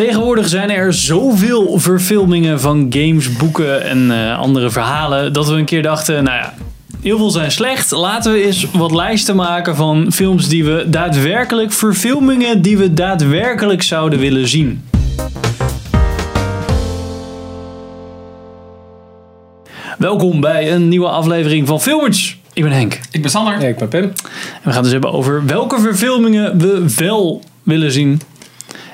Tegenwoordig zijn er zoveel verfilmingen van games, boeken en eh, andere verhalen dat we een keer dachten, nou ja, heel veel zijn slecht. Laten we eens wat lijsten maken van films die we daadwerkelijk, verfilmingen die we daadwerkelijk zouden willen zien. Welkom bij een nieuwe aflevering van Filmers. Ik ben Henk. Ik ben Sander. Ja, ik ben Pim. En we gaan het dus hebben over welke verfilmingen we wel willen zien.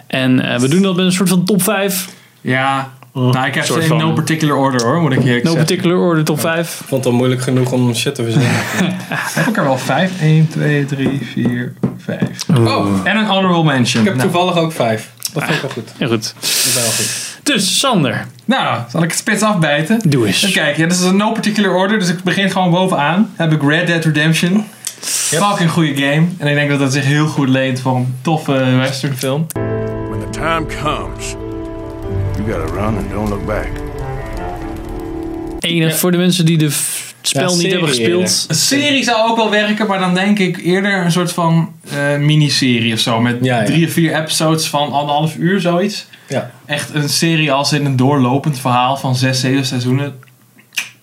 En eh, we doen dat met een soort van top 5. Ja, Oh, nou, ik heb ze soort in van- no particular order hoor, moet ik No je zeggen. particular order top 5. Ik vond het al moeilijk genoeg om shit te verzinnen. Heb ik er wel vijf? 1, 2, 3, 4, 5. Oh, en een honorable mention. Ik heb nou, Ah. toevallig ook vijf. Dat vind ik wel goed. Ja, goed. Dat is wel goed. Dus Sander, nou, zal ik het spits afbijten? doe Even eens. kijken, ja, dit is een no particular order, dus ik begin gewoon bovenaan. Dan heb ik Red Dead Redemption. Fucking goede game. En ik denk dat dat zich heel goed leent voor een toffe westernfilm. When the time comes, you gotta run and don't look back. Enig voor de mensen die de f- het spel niet serie hebben gespeeld. Een serie zou ook wel werken, maar dan denk ik eerder een soort van eh, miniserie of zo. Met Ja, ja. drie of vier episodes van anderhalf uur, zoiets. Ja. echt een serie als in een doorlopend verhaal van zes, zeven seizoenen.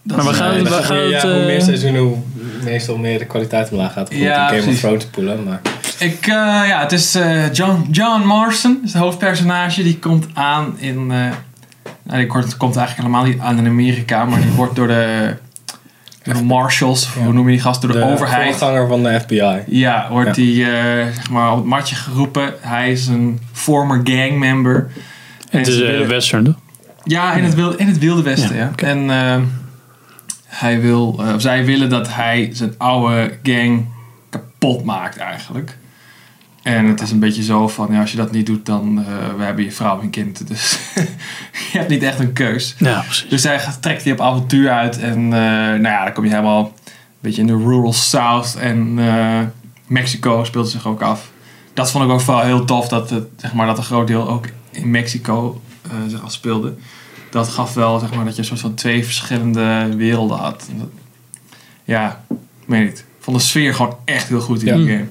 Dat Maar we is- gaan- nee, we dat- gaan- het, ja, hoe eh, meer seizoenen, hoe meestal meer de kwaliteit omlaag gaat. Goed Ja, om Game precies. of Thrones te poelen, maar... Ik, eh, ja, het is eh, John, John Marston, is het hoofdpersonage. Die komt aan in... eh, nou, die komt, komt eigenlijk helemaal niet aan in Amerika, maar die wordt door de, door de marshals, of hoe noem je die gast, door de, overheid. voorganger van de FBI. Ja, wordt Ja. die eh, zeg maar op het matje geroepen. Hij is een former gangmember. Het is ze eh willen- western. toch? Ja, in het wilde, in het wilde westen, Ja, ja. En ehm, hij wil, eh, of zij willen dat hij zijn oude gang kapot maakt eigenlijk. En het is een beetje zo van, ja, als je dat niet doet, dan eh, we hebben je vrouw en kind. Dus je hebt niet echt een keus. Ja, precies. Dus hij gaat- trekt die op avontuur uit. En eh, nou ja, dan kom je helemaal een beetje in de rural south. En eh, Mexico speelt zich ook af. Dat vond ik ook wel heel tof. Dat, het, zeg maar, dat een groot deel ook in Mexico eh, zich afspeelde. Dat gaf wel zeg maar, dat je een soort van twee verschillende werelden had. En dat- ja, ik weet niet. Ik vond de sfeer gewoon echt heel goed in die game.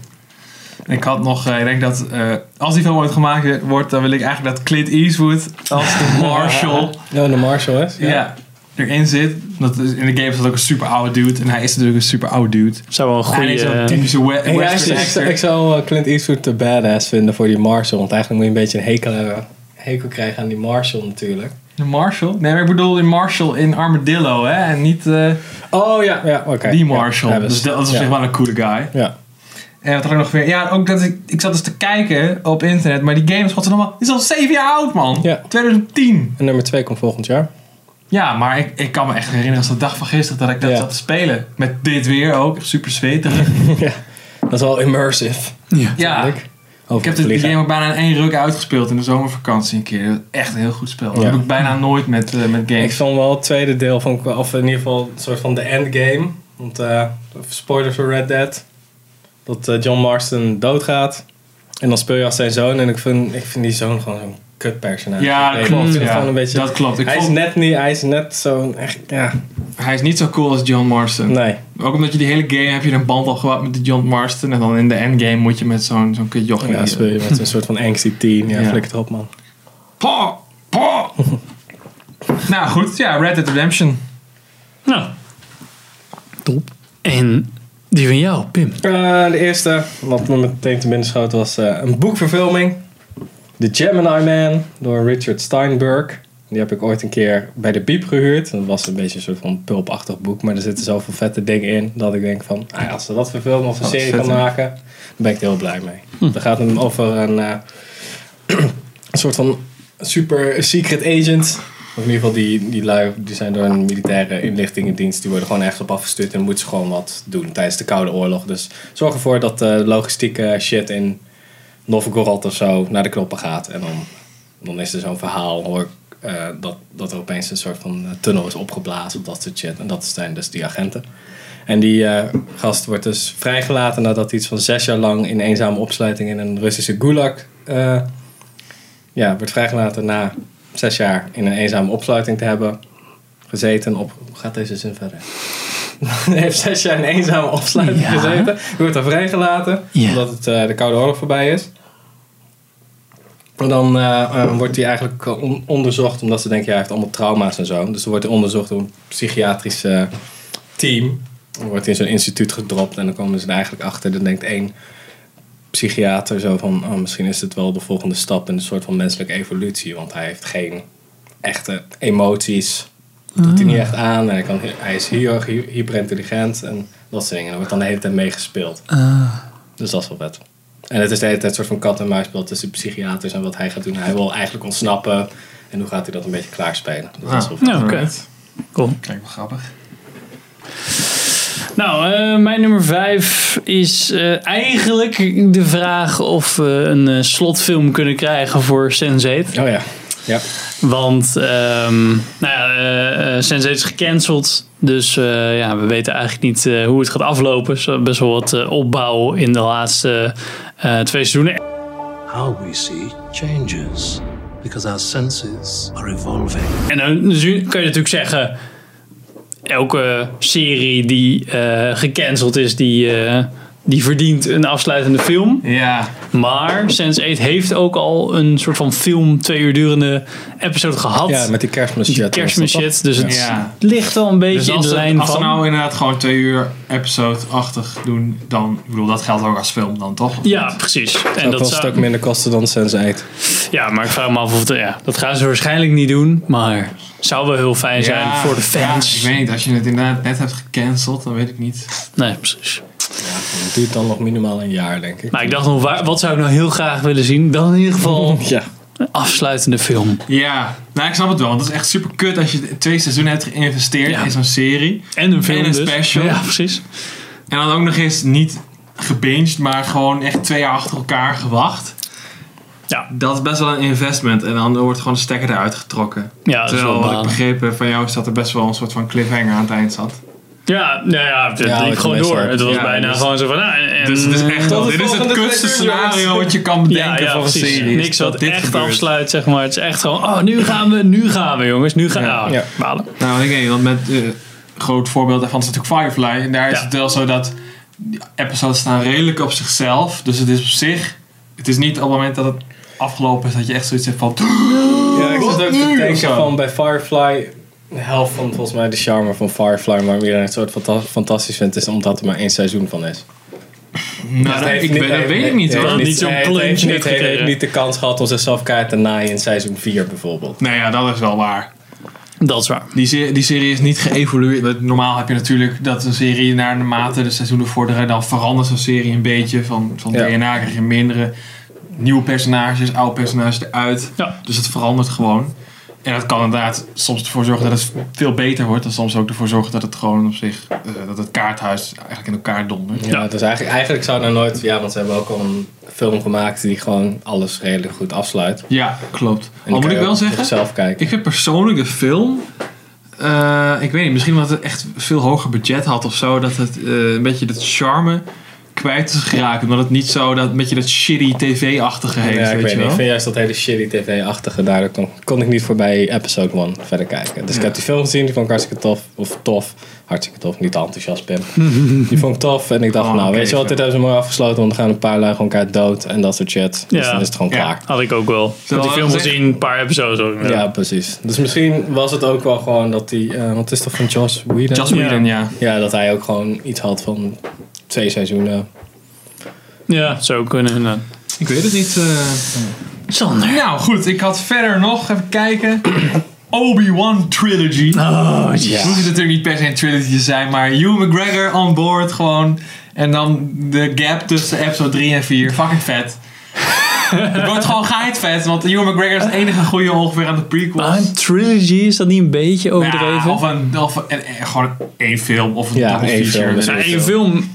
En ik had nog, eh, ik denk dat eh, als die film ooit gemaakt wordt, dan wil ik eigenlijk dat Clint Eastwood als de marshal Oh, de Marshall, hè? ja. erin zit. Dat is, in de game is dat ook een super oude dude. En hij is natuurlijk een super oude dude. Zou wel een en hij is goede. een eh, typische we- Hey, ja, western ik, zou- ik actor. zou eh, Clint Eastwood te badass vinden voor die Marshall. Want eigenlijk moet je een beetje een hekel, hebben, hekel krijgen aan die Marshall natuurlijk. De Marshall? Nee, maar ik bedoel in Marshall in Armadillo, hè. En niet eh, Oh ja, ja oké. die Ja, Marshall. hebben ze. dus dat is op Ja. zich wel een coole guy. Ja. En wat had ik nog weer? Ja, ook dat ik... Ik zat dus te kijken op internet. Maar die game is godverdomme... Die is al zeven jaar oud, man. Ja. 2010. En nummer 2 komt volgend jaar. Ja, maar ik, ik kan me echt herinneren als de dag van gisteren dat ik dat Ja. zat te spelen. Met dit weer ook. Super zweterig. Dat is wel immersive. ja. ja. Leuk. Over Ah. Ik heb dit vliegen. game ook bijna in één ruk uitgespeeld in de zomervakantie een keer. Dat is Echt een heel goed spel. Dat Ja. heb ik bijna nooit met, eh, met Ik games. vond wel het tweede deel, van, of in ieder geval een soort van de endgame. Want eh spoiler voor Red Dead. Dat eh, John Marston doodgaat. En dan speel je als zijn zoon. En ik vind, ik vind die zoon gewoon zo'n kut personage. Ja, dat klopt, ja. Gewoon een beetje, Dat klopt. Ik hij, vond- is net niet, hij is net zo'n echt, ja, Hij is niet zo cool als John Marston. nee. Ook omdat je die hele game heb je een band al gehad met de John Marston. En dan in de endgame moet je met zo'n zo'n kut jochie. Ja, speel je met zo'n soort van angsty teen. Ja, Ja. flikker het op man. Pa! Pa! nou goed, ja, Red Dead Redemption. Nou, top. En die van jou, Pim. Eh, de eerste, wat me meteen te binnen schoot, was eh, een boekverfilming. The Gemini Man door Richard Steinberg. Die heb ik ooit een keer bij de Biep gehuurd. Dat was een beetje een soort van pulpachtig boek. Maar er zitten zoveel vette dingen in dat ik denk van... ah ja, als ze dat verfilmen of een Oh, serie vet, kan hè? Hm. maken... dan ben ik er heel blij mee. Dan gaat het over een, eh, een soort van super secret agent. Of in ieder geval die, die lui die zijn door een militaire inlichtingendienst. Die worden gewoon echt op afgestuurd en moeten ze gewoon wat doen tijdens de Koude Oorlog. Dus zorg ervoor dat de logistieke shit in Novgorod of zo naar de knoppen gaat. En dan, dan is er zo'n verhaal hoor, ik, eh, dat, dat er opeens een soort van eh, tunnel is opgeblazen of dat soort shit. En dat zijn dus die agenten. En die eh, gast wordt dus vrijgelaten nadat hij iets van zes jaar lang in eenzame opsluiting in een Russische gulag eh, ja, wordt vrijgelaten na zes jaar in een eenzame opsluiting te hebben gezeten op... Hoe gaat deze zin verder? Hij heeft zes jaar in eenzame opsluiting Ja. gezeten. Hij wordt daar vrijgelaten Ja. omdat het, eh, de Koude Oorlog voorbij is. En dan eh, eh, wordt hij eigenlijk eh, on- onderzocht, omdat ze denken, ja, hij heeft allemaal trauma's en zo. Dus dan wordt hij onderzocht door een psychiatrisch eh, team. Dan wordt hij in zo'n instituut gedropt en dan komen ze er eigenlijk achter. Dan denkt één psychiater zo van, oh, misschien is het wel de volgende stap in een soort van menselijke evolutie. Want hij heeft geen echte emoties. Dat doet hij niet echt aan. En hij, kan, hij is heel hy- hyperintelligent en dat soort dingen. Er wordt dan de hele tijd meegespeeld. Dus dat is wel vet. En het is de hele tijd een soort van kat en muisspel tussen psychiaters en wat hij gaat doen. Hij wil eigenlijk ontsnappen. En hoe gaat hij dat een beetje klaarspelen? Dus dat is wel vet. Ja, oké. Alright. Cool. Kijk, wel grappig. Nou, eh, mijn nummer vijf is eh, eigenlijk de vraag of we een eh, slotfilm kunnen krijgen voor Sense8. Oh ja. Ja. Want ehm nou ja, eh, eh, Sense8 is gecanceld. Dus eh, ja, we weten eigenlijk niet eh, hoe het gaat aflopen. Dus best wel wat eh, opbouw in de laatste eh, twee seizoenen. How we see changes because our senses are evolving. En dan dus nu kun je natuurlijk zeggen... Elke serie die eh, gecanceld is, die, eh, die verdient een afsluitende film. Ja, Maar Sense8 heeft ook al een soort van film, twee uur durende episode gehad. ja, met die kerstmis shit. was dat Kerstmis toch? shit. Dus het Ja. ligt al een beetje dus in de als, ze, lijn als ze van... nou inderdaad gewoon twee uur episode-achtig doen, dan, ik bedoel, dat geldt ook als film dan toch? Of Ja, niet? precies. En dat Dat was een stuk zou, minder kosten dan Sense8. ja, maar ik vraag me af of het, ja, dat gaan ze waarschijnlijk niet doen. Maar het zou wel heel fijn zijn Ja, voor de fans. ja, ik weet niet, als je het inderdaad net hebt gecanceld, dan weet ik niet. Nee, precies. Het duurt dan nog minimaal een jaar, denk ik. Maar ik dacht nog, waar, wat zou ik nou heel graag willen zien? Dan in ieder geval Ja. een afsluitende film. Ja, nou ik snap het wel, want het is echt super kut als je twee seizoenen hebt geïnvesteerd Ja. in zo'n serie. En een film En een dus. special. Ja, precies. En dan ook nog eens niet gebinged, maar gewoon echt twee jaar achter elkaar gewacht. Ja, Dat is best wel een investment en dan wordt gewoon de stekker eruit getrokken. ja dat is wel Terwijl wat ik balen. begrepen van jou is dat er best wel een soort van cliffhanger aan het eind zat. Ja, nou ja, het Ja, liep wat gewoon je door. meestal- Het was ja, bijna dus- gewoon zo van... Nou, en, Dus het is echt wel, de dit is het volgende kutste twee uur, jongens. scenario wat je kan bedenken ja, ja, voor een precies. serie. Niks dat wat dit echt gebeurt. afsluit, zeg maar. Het is echt gewoon... Oh, nu gaan we, nu gaan we, jongens. Nu gaan we. Ja. Ah, Ja. balen. Nou, ik weet niet, want met eh, groot voorbeeld daarvan is natuurlijk Firefly. En daar is Ja. het wel zo dat die episodes staan redelijk op zichzelf. Dus het is op zich, het is niet op het moment dat het afgelopen is dat je echt zoiets hebt van... Ja, ik zat Wat ook nu? te denken Of zo. van bij Firefly. De helft van volgens mij de charme van Firefly, maar meer een soort fanta- fantastisch vindt, is omdat er maar één seizoen van is. Nou, dat, ik, ben- dat weet ik niet nee, hoor. nee. Niet zo'n hij plunge heeft heeft niet, hij heeft gekregen. niet de kans gehad om zichzelf keihard te naaien in seizoen 4 bijvoorbeeld. Nou ja, dat is wel waar. Dat is waar. Die serie, die serie is niet geëvolueerd. Want Normaal heb je natuurlijk dat een serie naar de mate de seizoenen vorderen, dan verandert zo'n serie een beetje. Van, van Ja. DNA krijg je mindere nieuwe personages, oude personages eruit. Ja. Dus het verandert gewoon. En dat kan inderdaad soms ervoor zorgen dat het veel beter wordt. En soms ook ervoor zorgen dat het gewoon op zich, eh, dat het kaarthuis eigenlijk in elkaar dondert. Ja, dus eigenlijk, eigenlijk zou nou nooit, ja, want ze hebben ook al een film gemaakt die gewoon alles redelijk goed afsluit. En Ja, klopt. die Al kan Oh, moet ik je wel ook zeggen, Zelf kijken. Ik vind persoonlijk de film. eh, ik weet niet, misschien omdat het echt veel hoger budget had of zo. Dat het eh, een beetje dat charme kwijt is geraakt. Omdat het niet zo dat een beetje dat shitty tv-achtige heeft. ja, ik weet weet je niet. Ik wel. vind juist dat hele shitty tv-achtige. Daardoor kon, kon ik niet voorbij episode 1 verder kijken. Dus ik heb die film gezien. Die vond ik hartstikke tof. Of tof. Hartstikke tof. Niet te enthousiast ben. die vond ik tof. En ik dacht, Oh, nou oké, weet je wat. Dit fair. hebben ze mooi afgesloten. Want er gaan een paar lui gewoon elkaar dood. En dat soort shit. Dus Ja. dan is het gewoon Ja. klaar. Had ik ook wel. Ik heb wel die film gezegd? gezien, een paar episodes ook. Ja. precies. Dus misschien was het ook wel gewoon dat die... eh, want het is toch van Josh Whedon? Just Whedon, ja. Ja, dat hij ook gewoon iets had van twee seizoenen. Ja, zou kunnen. inderdaad. Ik weet het niet. eh. Sander. Nou goed, ik had verder nog even kijken. Obi-Wan Trilogy. Oh, ja. Het hoeft natuurlijk niet per se een trilogy te zijn, maar Hugh McGregor on board gewoon. En dan de gap tussen episode 3 en 4. Fucking vet. Het wordt gewoon geheid vet, want Hugh McGregor is de enige goede ongeveer aan de Maar Ah, prequels. een trilogy, is dat niet een beetje overdreven? Ja, Nou, of een, of een, eh, gewoon één film of een Ja, double één feature. film. Dus- nou, één film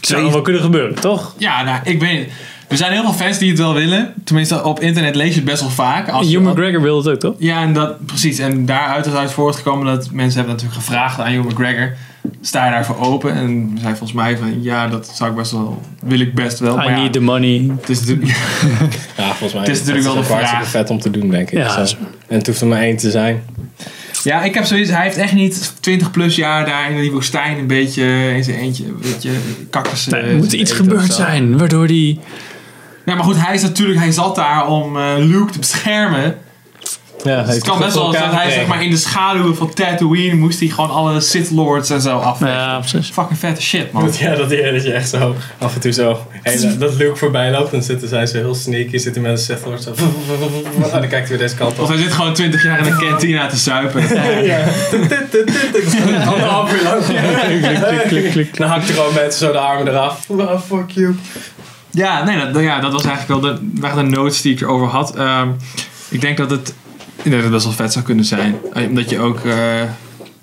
zou nog wel kunnen gebeuren, toch? Ja, nou, ik weet het. Er zijn heel veel fans die het wel willen. Tenminste, op internet lees je het best wel vaak. Als je- Hugh McGregor wil het ook, toch? Ja, en dat, precies. En daaruit is uit voortgekomen dat mensen hebben natuurlijk gevraagd aan Hugh McGregor. Sta je daarvoor open? En hij zei volgens mij van ja, dat zou ik best wel, wil ik best wel. I Oh, Maar ja, need the money. het is natuurlijk, Ja, volgens mij Het is natuurlijk dat wel de ook vraag. hartstikke vet om te doen, denk ik. Ja, Zo. zo. En het hoeft er maar één te zijn. ja, ik heb zoiets, hij heeft echt niet 20 plus jaar daar in die woestijn een beetje in zijn eentje, een beetje kakkersen. Nee, er moet zitten iets eten of gebeurd zo. zijn, waardoor die Ja, maar goed, hij is natuurlijk, hij zat daar om eh, Luke te beschermen. Ja, Dus het kan best wel zijn dat hij zeg maar in de schaduwen van Tatooine moest hij gewoon alle Sith Lords en zo af. Ja, precies. Fucking vette shit, man. Ja, dat, ja, dat je echt zo af en toe zo. En, dat Luke voorbij loopt, dan zitten zij zo heel sneaky. Zitten mensen zegt wordt zo. En dan kijkt hij weer deze kant Of op. hij zit gewoon 20 jaar in een kantine te zuipen. Ja. Anderhalf uur lang. Klik, klik, klik. Dan hakt er gewoon mensen zo de armen eraf. Wow, fuck you. Ja, nee, dat, ja, dat was eigenlijk wel de, echt de notes die ik erover had. Ehm, ik denk dat het inderdaad best wel vet zou kunnen zijn. Eh, Omdat je ook, eh,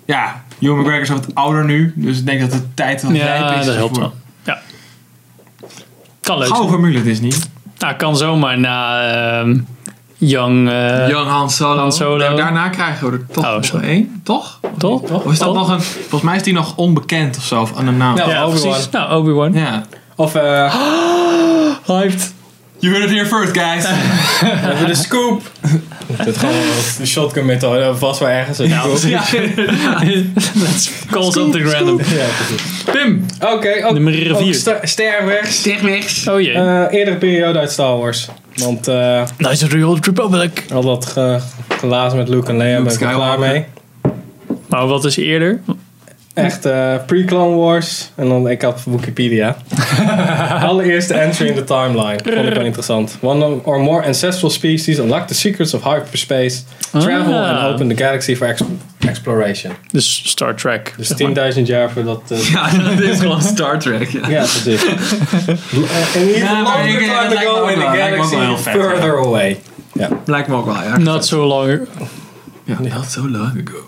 ja, Ewan McGregor is wat ouder nu. Dus ik denk dat de tijd wel rijp Ja, is. dat helpt voor- wel. Ja. Kan leuk zijn. Gouden formule Disney. Nou, kan zomaar na ehm, Young... eh, Young Han Solo. Han Solo. Daar- Daarna krijgen we er toch Oh, nog zo. één, toch? Toch? Of is dat Toch? nog een, volgens mij is die nog onbekend of zo, of aan de naam. Ja. Ja, Obi-Wan. precies. Nou, Obi-Wan. Ja. Of eh, Hyped. You heard it here first, guys. we hebben de scoop. Dat gewoon de shotgun methode. Vast wel ergens. een scoop. Ja. Let's call something random. Ja, precies. Pim. Oké, ook, Nummer ook vier. ster- sterrenwegs. Zeg niks. Oh jee. Eh, eerdere periode uit Star Wars. Want eh, Nice of the Old Republic. al dat ge- gelazen met Luke en Leia ben ik er klaar Skywalker. mee. Maar wat is eerder? Echt eh, pre-Clone Wars. En dan, ik had Wikipedia. Allereerste entry in the timeline. Vond ik wel interessant. One or more ancestral species unlock the secrets of hyperspace. Travel Ah. and open the galaxy for ex- exploration. Dus Star Trek. Dus zeg 10.000 jaar voordat... eh, Ja, dat is gewoon Star Trek. Ja. ja, precies. En niet Ja, maar ik- longer dat time lijkt me ago ook in the wel- lijkt me ook galaxy wel heel vet, further away. Lijkt me ook wel, ja. maar. Not so long. Ja, not so long ago.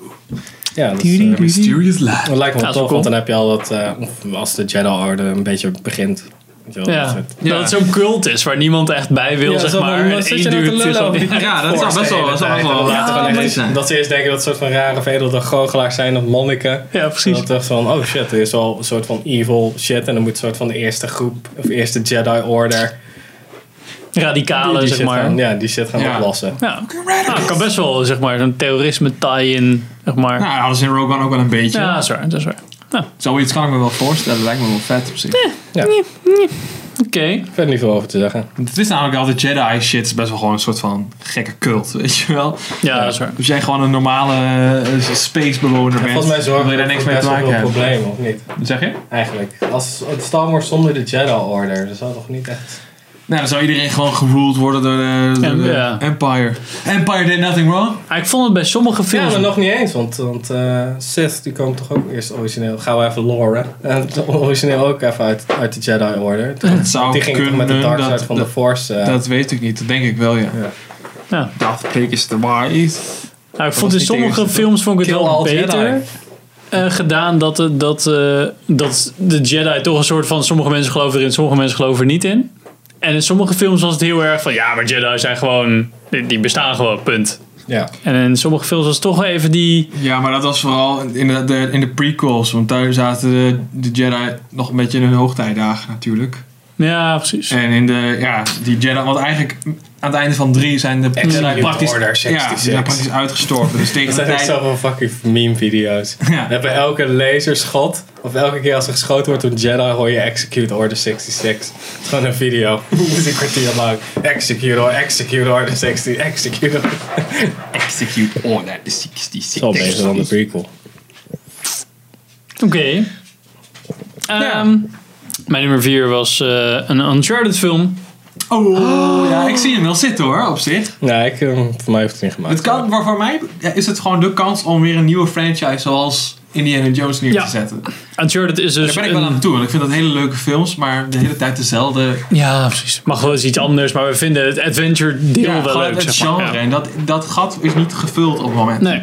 Ja, dat is, eh, Mysterious life. Dat lijkt me wel Ja, dat is tof, wel want dan heb je al dat... eh, of als de Jedi Order een beetje begint. Weet je wel, dat Ja. soort- Dat het zo'n cult is waar niemand echt bij wil, Ja, zeg zo van, maar. wat En zit één je nou te dude lullen zit al- over die- Ja, dat zou best wel, dat zou best wel Ja, laten gewoon we echt- lezen. Dat ze eerst denken dat het een soort van rare vedelige goochelaars zijn of monniken. Ja, En precies. dat dacht van, oh shit, er is al een soort van evil shit. En dan moet een soort van de eerste groep, of eerste Jedi Order. Radicalen, die zeg shit maar. Gaan, ja, die shit gaan Ja. oplossen. Ja. Nou, kan best wel, zeg maar, een terrorisme tie-in, zeg maar. Nou, dat hadden ze in Rogue One ook wel een beetje. ja, dat is waar, dat is waar. Nou, Zoiets kan ik me wel voorstellen. Lijkt me wel vet op Eh. zich. Ja, oké. verder niet veel over te zeggen. Het is namelijk altijd Jedi shit. is best wel gewoon een soort van gekke cult, weet je wel. Ja, dat is waar. Als jij gewoon een normale eh, spacebewoner bent, Volgens mij zorgen wil je daar niks mee te maken hebben. probleem, of niet? Zeg je? Eigenlijk. Als het Star Wars zonder de Jedi Order, dat zou toch niet echt... Nou, dan zou iedereen gewoon geruled worden door de, door de Ja. Empire. Empire did nothing wrong. Ah, ik vond het bij sommige Ja, films... maar nog niet eens, want, want eh, Sith die komt toch ook eerst origineel. Gaan we even loren. En origineel ook even uit, uit de Jedi Order. Het zou die ging toch kunnen met de Dark dat, Side van de dat, Force. eh, dat weet ik niet. Dat denk ik wel, ja. Ja. Ja. Dat pik is de waarheid. Nou, ik was vond in niet sommige de eerste, films vond ik het Kill wel all beter Jedi. eh, gedaan dat, het- dat, eh, dat de Jedi toch een soort van sommige mensen geloven erin, sommige mensen geloven er niet in. En in sommige films was het heel erg van ja, maar Jedi zijn gewoon, die, die bestaan gewoon, punt. ja. En in sommige films was het toch even die, Ja, maar dat was vooral in de, de- in de prequels. Want daar zaten de, de Jedi nog een beetje in hun hoogtijdagen natuurlijk. ja precies. En in de, ja, die Jedi... Want eigenlijk aan het einde van drie zijn de Jedi praktisch... Order Ja, die 66. zijn praktisch uitgestorven. Dus tegen Dat de zijn echt tijd... zoveel fucking meme-video's. Ja. En Bij elke laserschot, of elke keer als er geschoten wordt door een Jedi, hoor je Execute Order 66. Het is gewoon een video. Dat is een kwartier lang. Execute Order, Execute Order 60, Execute Order. Execute Order 66. Zo beter dan de prequel. Oké. Ehm, Mijn nummer 4 was eh, een Uncharted film. Oh, ja, ik zie hem wel zitten hoor, op zich. Nee, ik, eh, voor mij heeft het niet gemaakt. Het kan, maar voor mij ja, is het gewoon de kans om weer een nieuwe franchise zoals Indiana Jones neer te Ja. zetten. Daar Uncharted is dus ben ik wel een- aan toe, want ik vind dat hele leuke films, maar de hele tijd dezelfde Ja, precies. Mag wel eens iets anders, maar we vinden het adventure deel Ja, wel gewoon leuk. het zeg maar. genre. Ja. En dat, dat gat is niet gevuld op het moment. Nee.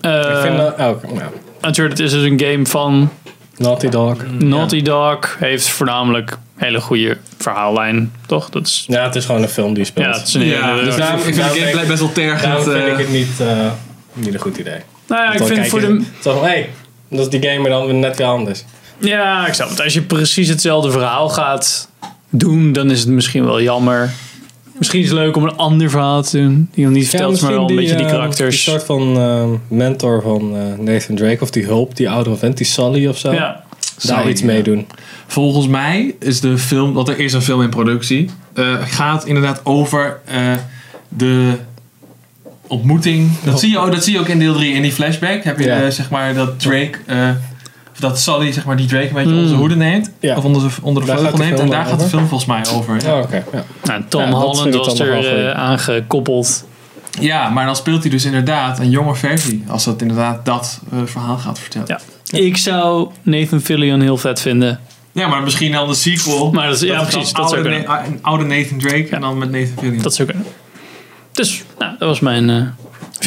Eh, Ik vind dat ook. ja. Uncharted is dus een game van Naughty Dog. Naughty Dog. Heeft voornamelijk hele goede verhaallijn, toch? Dat is, Ja, het is gewoon een film die speelt. ja, het is een Ja, hele- dus nou daarom, ik vind de daarom gameplay denk- best wel tergend. Daarom vind ik eh het niet, eh, niet een goed idee. Nou ja, ik vind het voor de... Zo van, hé, hey, dat is die game, maar dan weer net weer anders. Ja, ik snap het. Als je precies hetzelfde verhaal gaat doen, dan is het misschien wel jammer. Misschien is het leuk om een ander verhaal te doen. Die nog niet verteld is, maar wel een beetje die eh, karakters. Die soort van eh, mentor van eh, Nathan Drake, of die hulp, die oude vent, die Sully of zo. ja. daar Zij- iets mee doen. Volgens mij is de film, want er is een film in productie, eh, gaat inderdaad over eh, de ontmoeting. Dat zie, je, ook- dat zie je ook in deel 3 in die flashback. Heb je Ja. eh, zeg maar dat Drake, eh, of dat Sally zeg maar die Drake een beetje onder zijn hoede neemt. Hmm. Ja. Of onder, zijn- onder de Daar vleugel gaat de neemt. En film daar dan gaat de over. film volgens mij over. Oh, oké. ja. Nou, Tom Ja, dat Holland vind ik was dan er nogal eh, goed. aangekoppeld. Ja, maar dan speelt hij dus inderdaad een jonge versie. Als dat inderdaad dat eh, verhaal gaat vertellen. Ja. Ik zou Nathan Fillion heel vet vinden. Ja, maar misschien dan de sequel. Maar dat is- ja, het precies, dan dat zou oude, Na- een oude Nathan Drake en dan met Nathan Fillion. Dat zou kunnen. Dus, nou, dat was mijn... eh,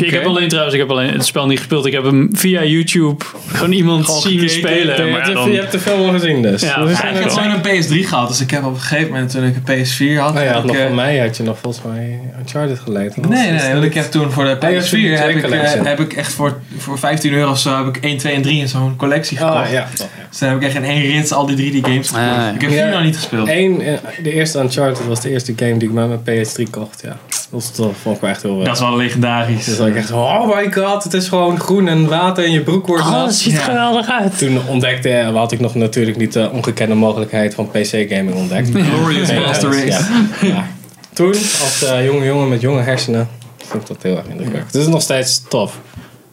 Ik heb alleen trouwens, ik heb alleen het spel niet gespeeld. Ik heb hem via YouTube gewoon iemand Gewoon zien gekeken. spelen. Maar je, hebt ja, de- dan, je hebt de film al gezien dus. Ja, Dat is ja, Ik heb Wel. zo'n PS3 gehad, dus ik heb op een gegeven moment toen ik een PS4 had. Nou ja, heb ik, nog eh, van mij had je nog volgens mij Uncharted geleid. Nee, nee, want ik heb toen voor de Oh, hebt toen die PS4 heb ik, eh, collection. heb ik echt voor, voor 15 euro of zo heb ik 1, 2 en 3 in zo'n collectie gekocht. Oh, ja. Dus dan heb ik echt in één rits al die drie die games gekocht. Ah, ja. Ik heb Ja. vier nog niet gespeeld. Eén, eh, de eerste Uncharted was de eerste game die ik met mijn PS3 kocht, ja. Dat is toch- vond ik wel echt heel wel. Dat is wel legendarisch. Dus dat ik echt zo, oh my god, het is gewoon groen en water en je broek wordt Oh, dat nat. ziet er Ja. geweldig uit. Toen ontdekte, eh, had ik nog natuurlijk niet de ongekende mogelijkheid van PC-gaming ontdekt. Glorious Nee, Master ja, Race. dus ja. Ja. Toen, als eh, jonge jongen met jonge hersenen, vond ik dat heel erg indrukwekkend. Dus Het is nog steeds tof.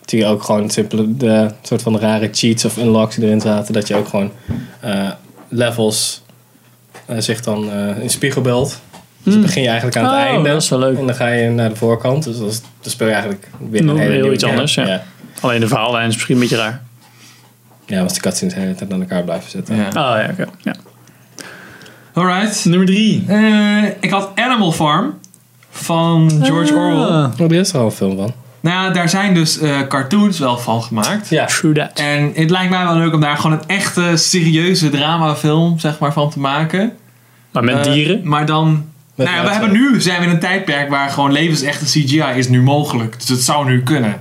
Dat je ook gewoon simpele, de soort van rare cheats of unlocks die erin zaten. Dat je ook gewoon eh, levels eh, zich dan eh, in spiegelbeeld. Dus dan begin je eigenlijk aan het Oh, einde. dat is wel leuk. En dan ga je naar de voorkant. Dus dat is- dan speel je eigenlijk weer Nog een hele heel nieuwe iets game. anders, ja. ja. Alleen de verhaallijn is misschien een beetje raar. Ja, want de cutscenes de hele tijd aan elkaar blijven zitten. Ja. Oh ja, oké. Ja. Alright. Nummer drie. Eh, ik had Animal Farm van George Ah. Orwell. Oh, er is er al een film van. Nou, ja, daar zijn dus eh, cartoons wel van gemaakt. Ja. True that. En het lijkt mij wel leuk om daar gewoon een echte serieuze dramafilm zeg maar, van te maken. Maar met Eh, dieren. maar dan... Met nou ja, we mensen. hebben nu, zijn we in een tijdperk waar gewoon levensechte CGI is nu mogelijk. Dus het zou nu kunnen.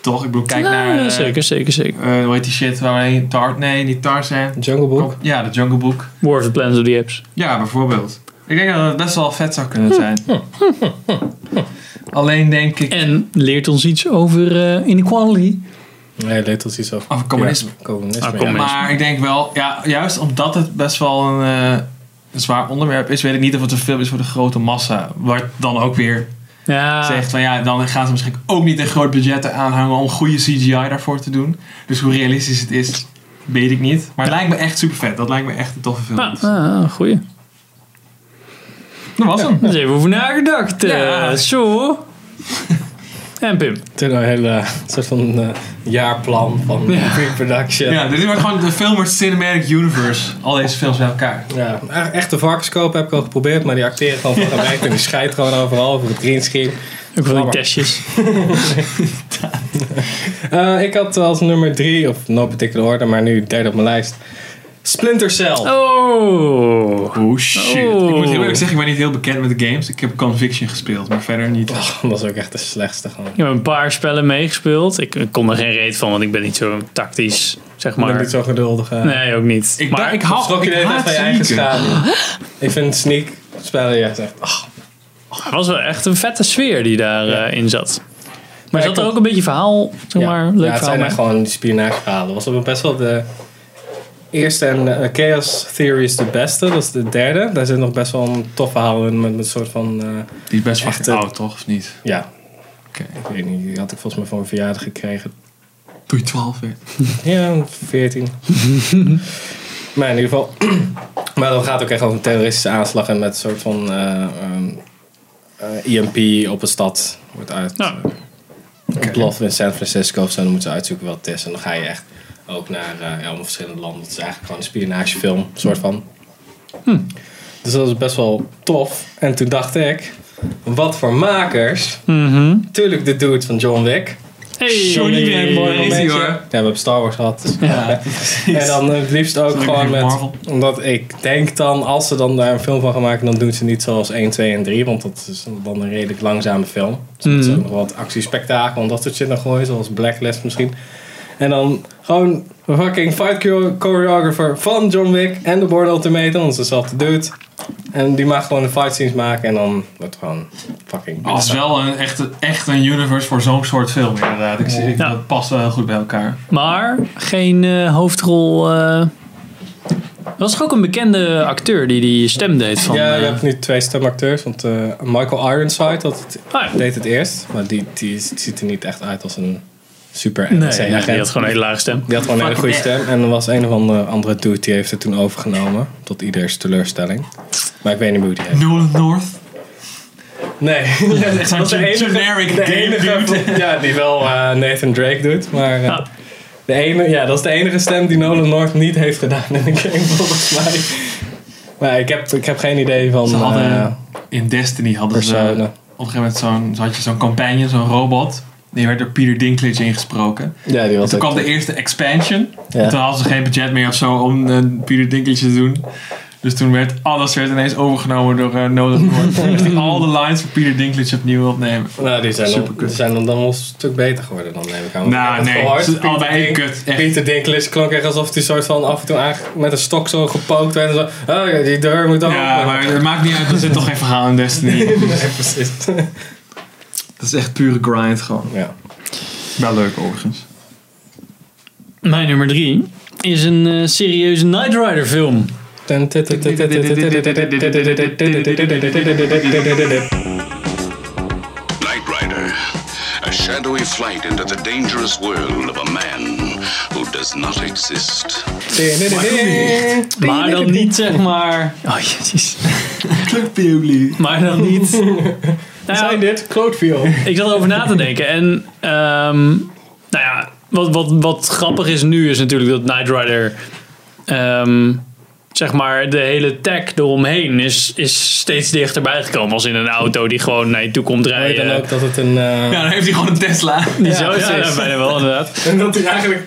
Toch? Ik bedoel, kijk Ja, naar... eh, zeker, zeker, zeker. eh, hoe heet die shit waar we heen? Tar nee, niet Tarzan. Jungle Book. Ja, de Jungle Book. War of the Planet of the Apes. Ja, bijvoorbeeld. Ik denk dat het best wel vet zou Hm. kunnen zijn. Alleen denk ik... En leert ons iets over eh, inequality. Nee, Little iets over. Over communisme. Ja, communisme. Ah, ja. kom maar. Maar ik denk wel, ja, juist omdat het best wel een, eh, een zwaar onderwerp is, weet ik niet of het een film is voor de grote massa. Wat dan ook weer Ja, zegt van ja, dan gaan ze misschien ook niet een groot budget aanhangen om goede CGI daarvoor te doen. Dus hoe realistisch het is, weet ik niet. Maar het lijkt me echt super vet. Dat lijkt me echt een toffe film. Ah, ah, goeie. Dat was hem. Daar is even over nagedacht. eh, Ja. Zo. En Pim. Toen een hele eh, soort van eh, jaarplan van pre-production. Ja. Ja, dit wordt gewoon de Filmer Cinematic Universe. Al deze films bij elkaar. e- Echte varkenskoop heb ik al geprobeerd, maar die acteren gewoon van gewerkt en die scheidt gewoon overal over het greenscreen. Ook wel die Jammer. testjes. Eh, ik had als nummer drie, of no particular order, maar nu derde op mijn lijst, Splinter Cell. Oh. Oh shit. Oh. Ik moet heel eerlijk zeggen, ik ben niet heel bekend met de games. Ik heb Conviction gespeeld, maar verder niet. Oh, dat is ook echt de slechtste gewoon. Ik heb een paar spellen meegespeeld. Ik, ik kon er geen reet van, want ik ben niet zo tactisch, zeg Ik ben maar. niet zo geduldig. eh. Nee, ook niet. Ik, maar maar, ik hou Schrok je de ik hele tijd haat van je eigen sneaken. schaduw. Ik vind sneak spellen juist echt... ah, het was wel echt een vette sfeer die daarin in zat. Maar Ja, zat er klopt. ook een beetje verhaal, zeg maar, leuk ja, het verhaal zijn echt bij? gewoon die spionageverhalen. Was ook best wel de eerste en eh, Chaos Theory is de beste. Dat is de derde. Daar zit nog best wel een tof verhaal in met met een soort van... eh, Die is best wel Echt, eh, oud, toch? Of niet? ja, Oké. ik weet niet. Die had ik volgens mij voor een verjaardag gekregen. Doe je 12 weer. Ja, 14. maar in ieder geval... maar dat gaat ook echt over een terroristische aanslag en met een soort van... eh, ehm, eh, EMP op een stad wordt uit... eh, Nou. ontploffen in San Francisco of zo. Dan moeten ze uitzoeken wat het is. En dan ga je echt ook naar eh, ja, allemaal verschillende landen. Het is eigenlijk gewoon een spionagefilm, soort van. Dus dat is best wel tof. En toen dacht ik, wat voor makers. Tuurlijk de dude van John Wick. Hey. Johnny Rambo, Een Is beetje. die hoor. Ja, we hebben Star Wars gehad. dus- Ja, en dan eh, het liefst ook Zo'n gewoon met... Marvel. Omdat ik denk dan, als ze dan daar een film van gaan maken... dan doen ze niet zoals 1, 2 en 3. Want dat is dan een redelijk langzame film. Dus dat is ook nog wat actiespektakel en dat soort shit nog gooien. Zoals Blacklist misschien. En dan gewoon een fucking fight choreo- choreographer van John Wick... en de Board Ultimatum, want het is dezelfde dude. En die mag gewoon de fight scenes maken. En dan wordt het gewoon fucking... Het is wel een, echt, echt een universe voor zo'n soort film, inderdaad. Ik, zie- ik, Ja. Dat past wel heel goed bij elkaar. Maar geen eh, hoofdrol eh, was toch ook een bekende acteur die die stem deed van... ja, eh, je hebt nu twee stemacteurs. Want eh, Michael Ironside had het, Ah, ja. deed het eerst. Maar die, die ziet er niet echt uit als een super Nee, NSC-agent. nee, die had gewoon een hele lage stem. Die had gewoon een hele goede stem. En er was een of andere, andere dude die heeft het toen overgenomen. Tot ieders teleurstelling. Maar ik weet niet meer hoe die heet. Nolan North. Nee. Echt zo'n generic de game enige- dude. Ja, die wel eh, Nathan Drake doet. Maar eh, Ah. de ene, ja, dat is de enige stem die Nolan North niet heeft gedaan in een game volgens mij. Maar ik heb, ik heb geen idee van... Ze hadden eh, in Destiny hadden ze personen. op een gegeven moment zo'n, zo had je zo'n campagne, zo'n robot. Die werd door Peter Dinklage ingesproken. ja, die was Toen ook kwam de eerste expansion. Ja. En toen hadden ze geen budget meer of zo om eh, Peter Dinklage te doen. Dus toen werd alles werd ineens overgenomen door eh Nolan North. Dus die al de lines van Peter Dinklage opnieuw opnemen. Nou, die zijn, dan, Superkut. die zijn dan, dan wel een stuk beter geworden dan, neem ik aan. Want Nou, ik heb het nee, gehoord. ze zijn Pieter allebei Dink- kut, echt. Pieter Dinklage klonk echt alsof hij soort van af en toe aange- met een stok zo gepookt werd. En zo, oh, die deur moet open. Ja, maar het maakt niet uit, er zit toch geen verhaal in Destiny. Nee, precies. Dat is echt pure grind gewoon. ja. Wel leuk overigens. Mijn nummer drie is een eh, serieuze Knight Rider film. Knight Rider, a shadowy flight into the dangerous world of a man who does not exist. Maar dan niet zeg maar... Oh jezus. Clubbeuglie. Maar dan niet... Nou ja, Zijn dit? Cloudfield. ik zat erover na te denken. En ehm, nou ja, wat, wat, wat grappig is nu is natuurlijk dat Knight Rider... ehm, zeg maar, de hele tech eromheen is, is steeds dichterbij gekomen. Als in een auto die gewoon naar je toe komt Weet dan rijden. ook dat het een... eh, Ja, dan heeft hij gewoon een Tesla. Die zo precies. ja, bijna wel inderdaad. En dat hij eigenlijk...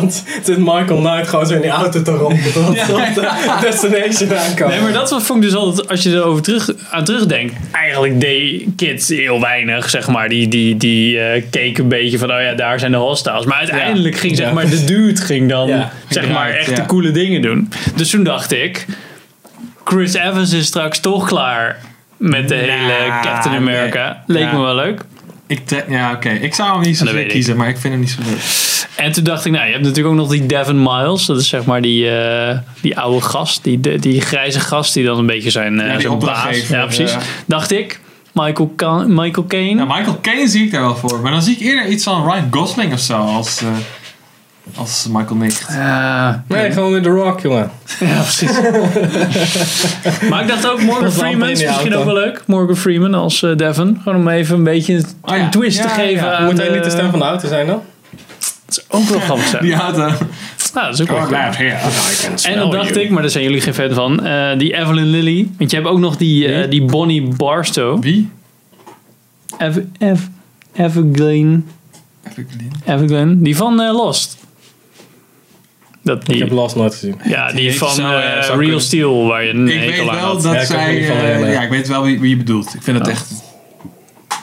dat zit Michael Knight gewoon zo in die auto te rompen. Dat dat Destination aankomt. Nee, maar dat wat vond ik dus altijd, als je erover terug, aan terugdenkt. Eigenlijk deed kids heel weinig, zeg maar. Die, die, die eh, keken een beetje van, oh ja, daar zijn de hostiles. Maar uiteindelijk ging, zeg Ja. maar, de dude ging dan, Ja. zeg maar, Inderdaad, echt ja. de coole dingen doen. Dus toen dacht ik, Chris Evans is straks toch klaar met de hele Captain nee. America. Leek Ja. me wel leuk. Ik trek, ja, oké. Ik zou hem niet zo Dat weet leuk ik. kiezen, maar ik vind hem niet zo leuk. En toen dacht ik, nou, je hebt natuurlijk ook nog die Devin Miles. Dat is zeg maar die, eh, die oude gast, die, die, die grijze gast die dan een beetje zijn, eh die zijn baas. opdrachtgever, Ja, precies. ja. Dacht ik, Michael, Ca- Michael Caine. Nou, Michael Caine zie ik daar wel voor. Maar dan zie ik eerder iets van Ryan Gosling of zo als, eh, als Michael Nick. Eh, Nee, gewoon weer The Rock, jongen. ja, precies. maar ik dacht ook, Morgan was wel Freeman in is die misschien auto. ook wel leuk. Morgan Freeman als eh, Devin. Gewoon om even een beetje een, Oh ja. een twist te Ja, geven. ja. aan Moet hij niet de Eh, stem van de auto zijn dan? Dat is ook wel grappig zijn. Die eh, auto. Nou, dat is ook Oh, wel grappig. En dan dacht ik, maar daar zijn jullie geen fan van, eh, die Evelyn Lilly. Want je hebt ook nog die, eh, Wie? die Bonnie Barstow. Wie? Ev Ev Evergreen. Even Glyn. Evergreen. Die van eh, Lost. Dat Ik die, heb Lost nooit gezien. ja, die Ik van zou, eh, eh, zou Real kunnen. Steel, waar je een Ik hekel weet aan wel had. dat Ja, ik ook zij... niet van eh, herinneren. ja, ik weet wel wie, wie je bedoelt. Ik vind dat echt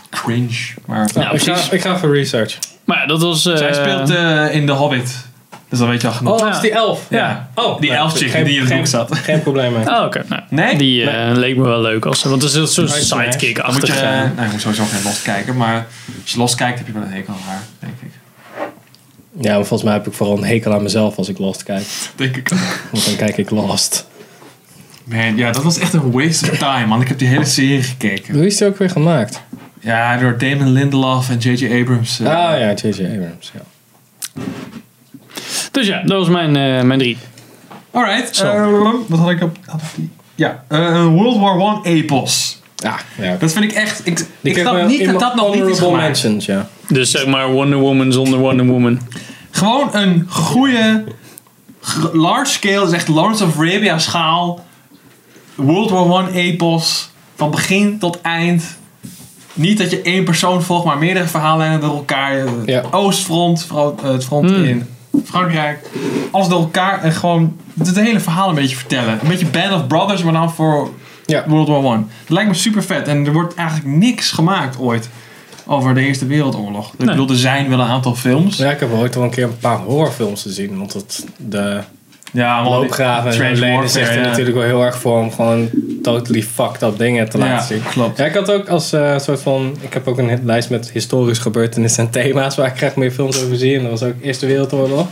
cringe. Maar, Ja, ik, ga, precies. ik ga voor research. Maar ja, dat was... eh, Zij speelt eh, in The Hobbit. Dus dan weet je al genoeg. Oh, Ja. dat is die elf. Ja. Oh, Die elf chick die in het boek zat. Geen probleem mee. Oh, oké. Nou, Nee? Die eh, leek me wel leuk. Als, want dat is een soort Nice, nice. Dan moet je, sidekick-achtige... eh, nou, je moet sowieso geen los kijken, maar als je los kijkt heb je wel een hekel aan haar, denk ik. Ja, maar volgens mij heb ik vooral een hekel aan mezelf als ik Lost kijk. Denk ik ook. Want dan kijk ik Lost. Man, ja, dat was echt een waste of time, man. Ik heb die hele serie gekeken. Hoe is die ook weer gemaakt? Ja, door Damon Lindelof en J.J. Abrams. eh. Ah ja, J.J. Abrams. Ja. Dus ja, dat was mijn, eh, mijn drie. Alright. Zo. eh, wat had ik op... had ik die? Ja, eh, een World War One epos. Ja, ja. Dat vind ik echt... Ik, Die ik kreeg wel snap niet in dat mijn dat nog niet is honorable gemaakt. mentions, ja. Dus zeg maar Wonder Woman zonder Wonder Woman. Gewoon een goede... gr- Large scale, dus echt Lawrence of Arabia schaal. World War One epos. Van begin tot eind. Niet dat je één persoon volgt, maar meerdere verhaallijnen door elkaar. Het Ja. Hmm. Oostfront, vooral, eh, het front in Frankrijk. Alles door elkaar en gewoon het hele verhaal een beetje vertellen. Een beetje Band of Brothers, maar dan voor Ja. World War One. Dat lijkt me super vet. En er wordt eigenlijk niks gemaakt ooit over de Eerste Wereldoorlog. Ik bedoel, er zijn wel een aantal films. Ja, ik heb ooit wel een keer een paar horrorfilms gezien. Want dat de Ja, man. loopgraven en Trench Lane is warfare, echt ja. natuurlijk wel heel erg voor om gewoon totally fucked up dingen te Ja, laten zien. klopt. Ja, ik had ook als eh, soort van. Ik heb ook een lijst met historische gebeurtenissen en thema's waar ik graag meer films over zie. En dat was ook Eerste Wereldoorlog.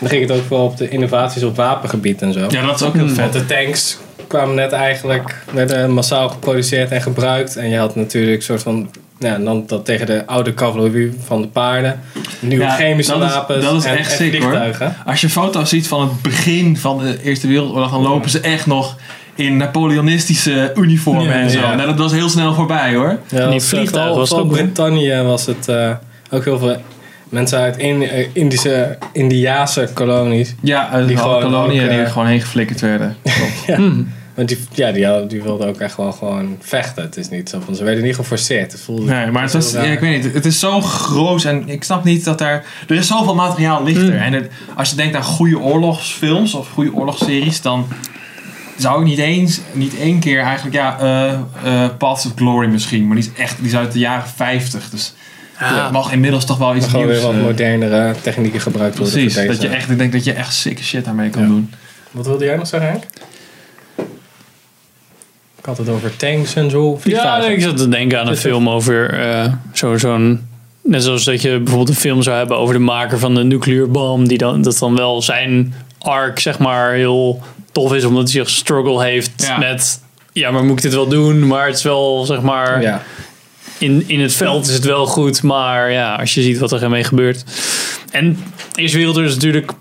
Dan ging het ook wel op de innovaties op wapengebied en zo. Ja, dat is ook heel Want vet. de tanks kwamen net eigenlijk, werden massaal geproduceerd en gebruikt. En je had natuurlijk een soort van, nou, ja, dan dat tegen de oude cavalerie van de paarden. Nieuwe Ja, chemische dat is- wapens dat is en, echt en sick, hoor. vliegtuigen. Als je foto's ziet van het begin van de Eerste Wereldoorlog, dan lopen ze echt nog in Napoleonistische uniformen Ja, en zo. ja. Nou, dat was heel snel voorbij hoor. Ja, die dat was, eh, vliegtuigen vooral- was het vooral ook, hè? Brittannië was het eh, ook heel veel mensen uit Indi- eh, Indische, Indiaanse kolonies. Ja, uit Die die gewoon koloniën ook, eh, die er gewoon heen geflikkerd werden. Want die, ja, die, hadden- die wilden ook echt wel gewoon vechten. Het is niet zo van, ze werden niet geforceerd. Het voelde Nee, maar het was, ja, Heel raar. ik weet niet, het is zo groot en ik snap niet dat daar... Er is zoveel materiaal ligt er. En het- als je denkt aan goede oorlogsfilms of goede oorlogsseries, dan zou ik niet eens, niet één keer eigenlijk, ja, eh eh, Paths of Glory misschien. Maar die is echt, die is uit de jaren 50, dus er mag inmiddels toch wel iets gewoon nieuws. weer wat eh, modernere technieken gebruikt worden. precies, voor deze- dat je echt, ik denk dat je echt sick shit daarmee kan doen. Wat wilde jij nog zeggen, Henk? Ik had het over tanks en zo. Ja, nee, ik zat te denken aan een Dus film over eh, zo- zo'n. net zoals dat je bijvoorbeeld een film zou hebben over de maker van de nucleurbom. Die dan, dat dan wel zijn arc, zeg maar, heel tof is. Omdat hij zich struggle heeft Ja. met. Ja, maar moet ik dit wel doen? Maar het is wel, zeg maar. Ja, In, in het veld is het wel goed. Maar ja, als je ziet wat er ermee gebeurt. En Eerste Wereldoorlog is natuurlijk.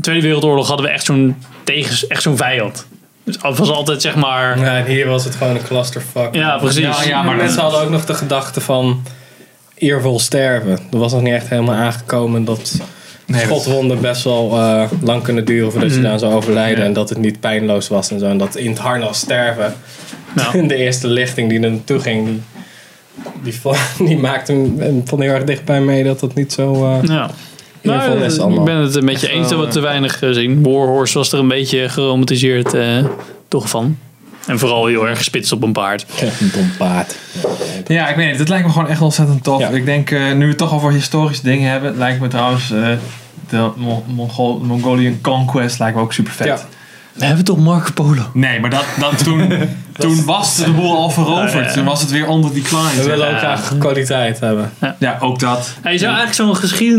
Tweede Wereldoorlog hadden we echt zo'n tegen, echt zo'n vijand. Dus het was altijd, zeg maar. ja en hier was het gewoon een clusterfuck. Ja, precies. Ja, ja, Maar maar mensen hadden ook nog de gedachte van eervol sterven. Er was nog niet echt helemaal aangekomen dat Nee, dat- schotwonden best wel eh, lang kunnen duren voordat Mhm. je daar zou overlijden. Ja. En dat het niet pijnloos was en zo. En dat in het harnas sterven, Nou. de eerste lichting die er naartoe ging, die, die, vo- die maakte hem en vond heel erg dichtbij mee dat dat niet zo... eh, Ja. ieder geval Nou, is het ik allemaal. ben het een beetje eens dat we te weinig gezien. Warhorse was er een beetje geromantiseerd eh, toch van. En vooral heel erg gespitst op een paard. Een dom paard. Ja, ik weet niet. Het lijkt me gewoon echt ontzettend tof. Ja. Ik denk, eh, nu we het toch over historische dingen hebben, lijkt me trouwens eh, de Mon- Mongol- Mongolian Conquest lijkt me ook super vet. Ja. We hebben toch Marco Polo? Nee, maar dat, dat toen, toen was de boel al veroverd. Ja, ja. Toen was het weer onder decline. We willen zeg. ook graag kwaliteit hebben. Ja, ook dat. Je zou eigenlijk zo'n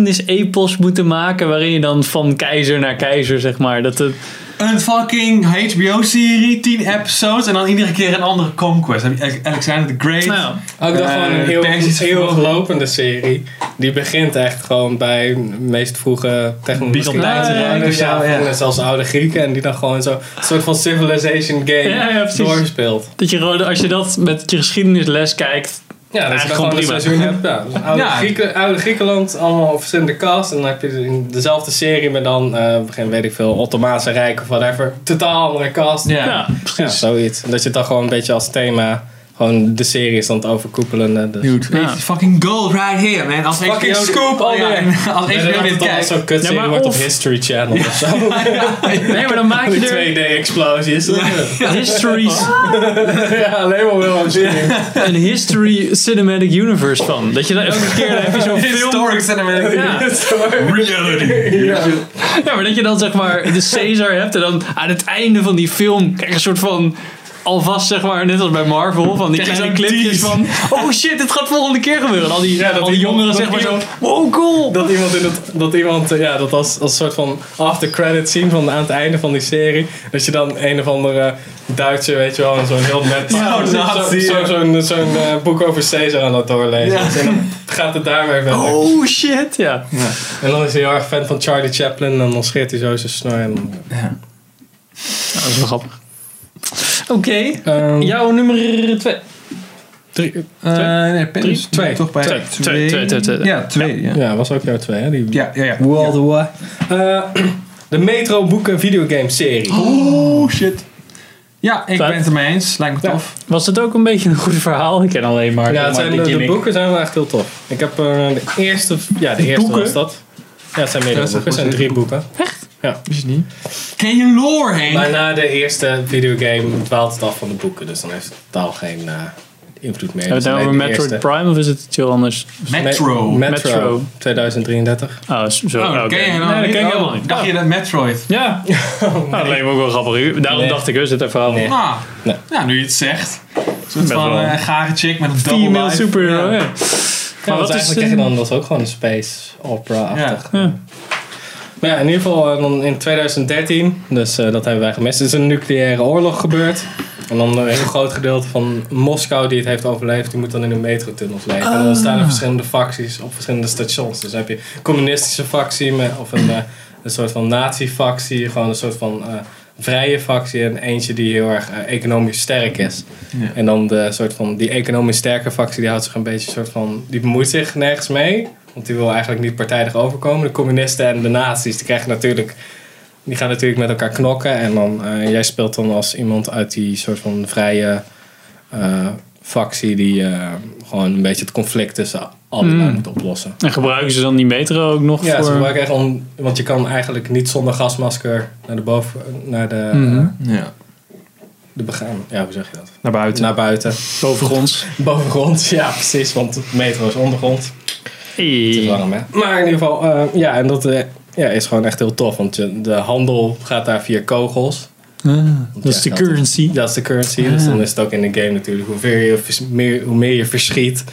geschiedenis-epos moeten maken... waarin je dan van keizer naar keizer, zeg maar... Dat het, Een fucking HBO-serie, 10 episodes en dan iedere keer een andere conquest. Heb je Ale- Alexander the Great. nou, Ook dat Eh, Oh, gewoon een heel, Persische heel vogel. lopende serie. Die begint echt gewoon bij de meest vroege Byzantijnse Byzantijnse Rijk of ruimers. zo, Ja, ja. en zelfs oude Grieken. En die dan gewoon zo een soort van civilization game Ja, ja, precies. doorspeelt. dat je gewoon, als je dat met je geschiedenisles kijkt... Ja, dat is Eigenlijk gewoon gewoon een prima. seizoen hebt. Ja, dus oude, Ja. Grieken, oude Griekenland, allemaal verschillende cast. En dan heb je de- in dezelfde serie, maar dan eh, geen weet ik veel, Ottomaanse Rijk of whatever. Totaal andere cast. Ja. Ja, Ja, precies. zoiets. Dat je het dan gewoon een beetje als thema, gewoon de serie is dan het overkoepelende. Dus. Dude, Ja. it's fucking gold right here, man. Als Fucking HBO dit- scoop Oh, ja, alweer. Als Ik HBO dat dit het dan kijkt. als zo'n kutserie Ja, maar wordt op of- History Channel of zo. Nee, maar dan maak Die je er 2D-explosies. histories, ja, alleen maar wel aan zien. een history cinematic universe van. Dat je dan elke keer dan heb je zo'n film... Historic cinematic. Ja. Reality. Ja, maar dat je dan zeg maar de Caesar hebt en dan aan het einde van die film krijg je een soort van alvast zeg maar net als bij Marvel van die Krijg je kleine zo'n clipjes tease. van oh shit dit gaat volgende keer gebeuren al die, Ja, dat al die iemand- jongeren dat zeg maar zo iemand- wow cool Dat iemand, in het, dat iemand eh, ja, dat als, als soort van after-credit scene van, aan het einde van die serie. Dat je dan een of andere Duitser, weet je wel, in zo'n heel net Zo'n zo- nazi, zo- ja. zo'n zo'n, eh, boek over Caesar aan het doorlezen. Ja. is. En dan gaat het daarmee verder. oh shit ja En dan is hij heel erg fan van Charlie Chaplin en dan scheert hij zo zijn snor. En, dat is wel grappig oké Ehm, jouw nummer 2 drie- Eh, nee, Pim Drie? is Twee. Toch bij Twee. Twee, twee, twee, twee. Ja, twee. Ja, ja, was ook jouw twee, hè? Die, ja, ja. ja. World War. Eh, de Metro boeken videogame serie. Oh shit. Ja, ik Vet. ben het ermee eens. Lijkt me Ja. tof. was het ook een beetje een goed verhaal ik ken alleen maar Ja, het maar zijn die de, de gimmick. boeken zijn wel echt heel tof. Ik heb eh, de eerste, ja de eerste boeken? was dat. Ja, het zijn meerdere Ja, boeken. Het dat is zijn goed. drie boeken. Is niet. Ken je lore heen? Maar na de eerste videogame dwaalt het af van de boeken. Dus dan heeft het totaal geen eh, invloed meer. hebben we Dus het nou alleen over de Metroid eerste- Prime of is het iets heel anders? Metro. Me- Metro. Metro. 2033. Oh, zo. oh, dat oké. ken je helemaal Nee, dat niet. ken ik Oh, helemaal niet. Ah. Dacht je dat Metroid? Ja. Nou, dat leek me ook wel grappig. Daarom Nee. dacht ik, is het even verhaal. Nee. Ah, Nee. ja, nu je het zegt. Een soort van wel. eh, gare chick met een double Female life. superhero, oh, ja. Ja. Maar Ja, want wat is eigenlijk de- krijg je dan dat is ook gewoon een space opera-achtig. Ja. Maar ja, in ieder geval eh, dan in 2013, dus eh, dat hebben wij gemist, is een nucleaire oorlog gebeurd. En dan een heel groot gedeelte van Moskou die het heeft overleefd, die moet dan in de metrotunnels leven. En dan ontstaan er verschillende facties op verschillende stations. Dus dan heb je een communistische factie met, of een, eh, een soort van nazi-factie, gewoon een soort van eh, vrije factie en eentje die heel erg eh, economisch sterk is. En dan de soort van, die economisch sterke factie, die houdt zich een beetje soort van, die bemoeit zich nergens mee. Want die wil eigenlijk niet partijdig overkomen. De communisten en de nazi's, die krijgen natuurlijk, die gaan natuurlijk met elkaar knokken. En dan, eh, jij speelt dan als iemand uit die soort van vrije eh, factie die eh, gewoon een beetje het conflict tussen allebei moet oplossen. En gebruiken ze dan die metro ook nog Ja, ze Hmm. voor... gebruiken echt om, want je kan eigenlijk niet zonder gasmasker naar de boven, naar de, Mhm. Ja. de begaan. Ja, hoe zeg je dat? Naar buiten. Naar buiten. bovengronds. Bovengrond, ja precies, want de metro is ondergrond. Het is Hey. warm, hè? Maar in ieder geval, eh, ja, en dat eh, ja, is gewoon echt heel tof. Want je- de handel gaat daar via kogels. Ah, Dat is de currency. Dat is de currency. Dus dan is het ook in de game natuurlijk. Hoe, ver je, vers- meer, hoe meer je verschiet,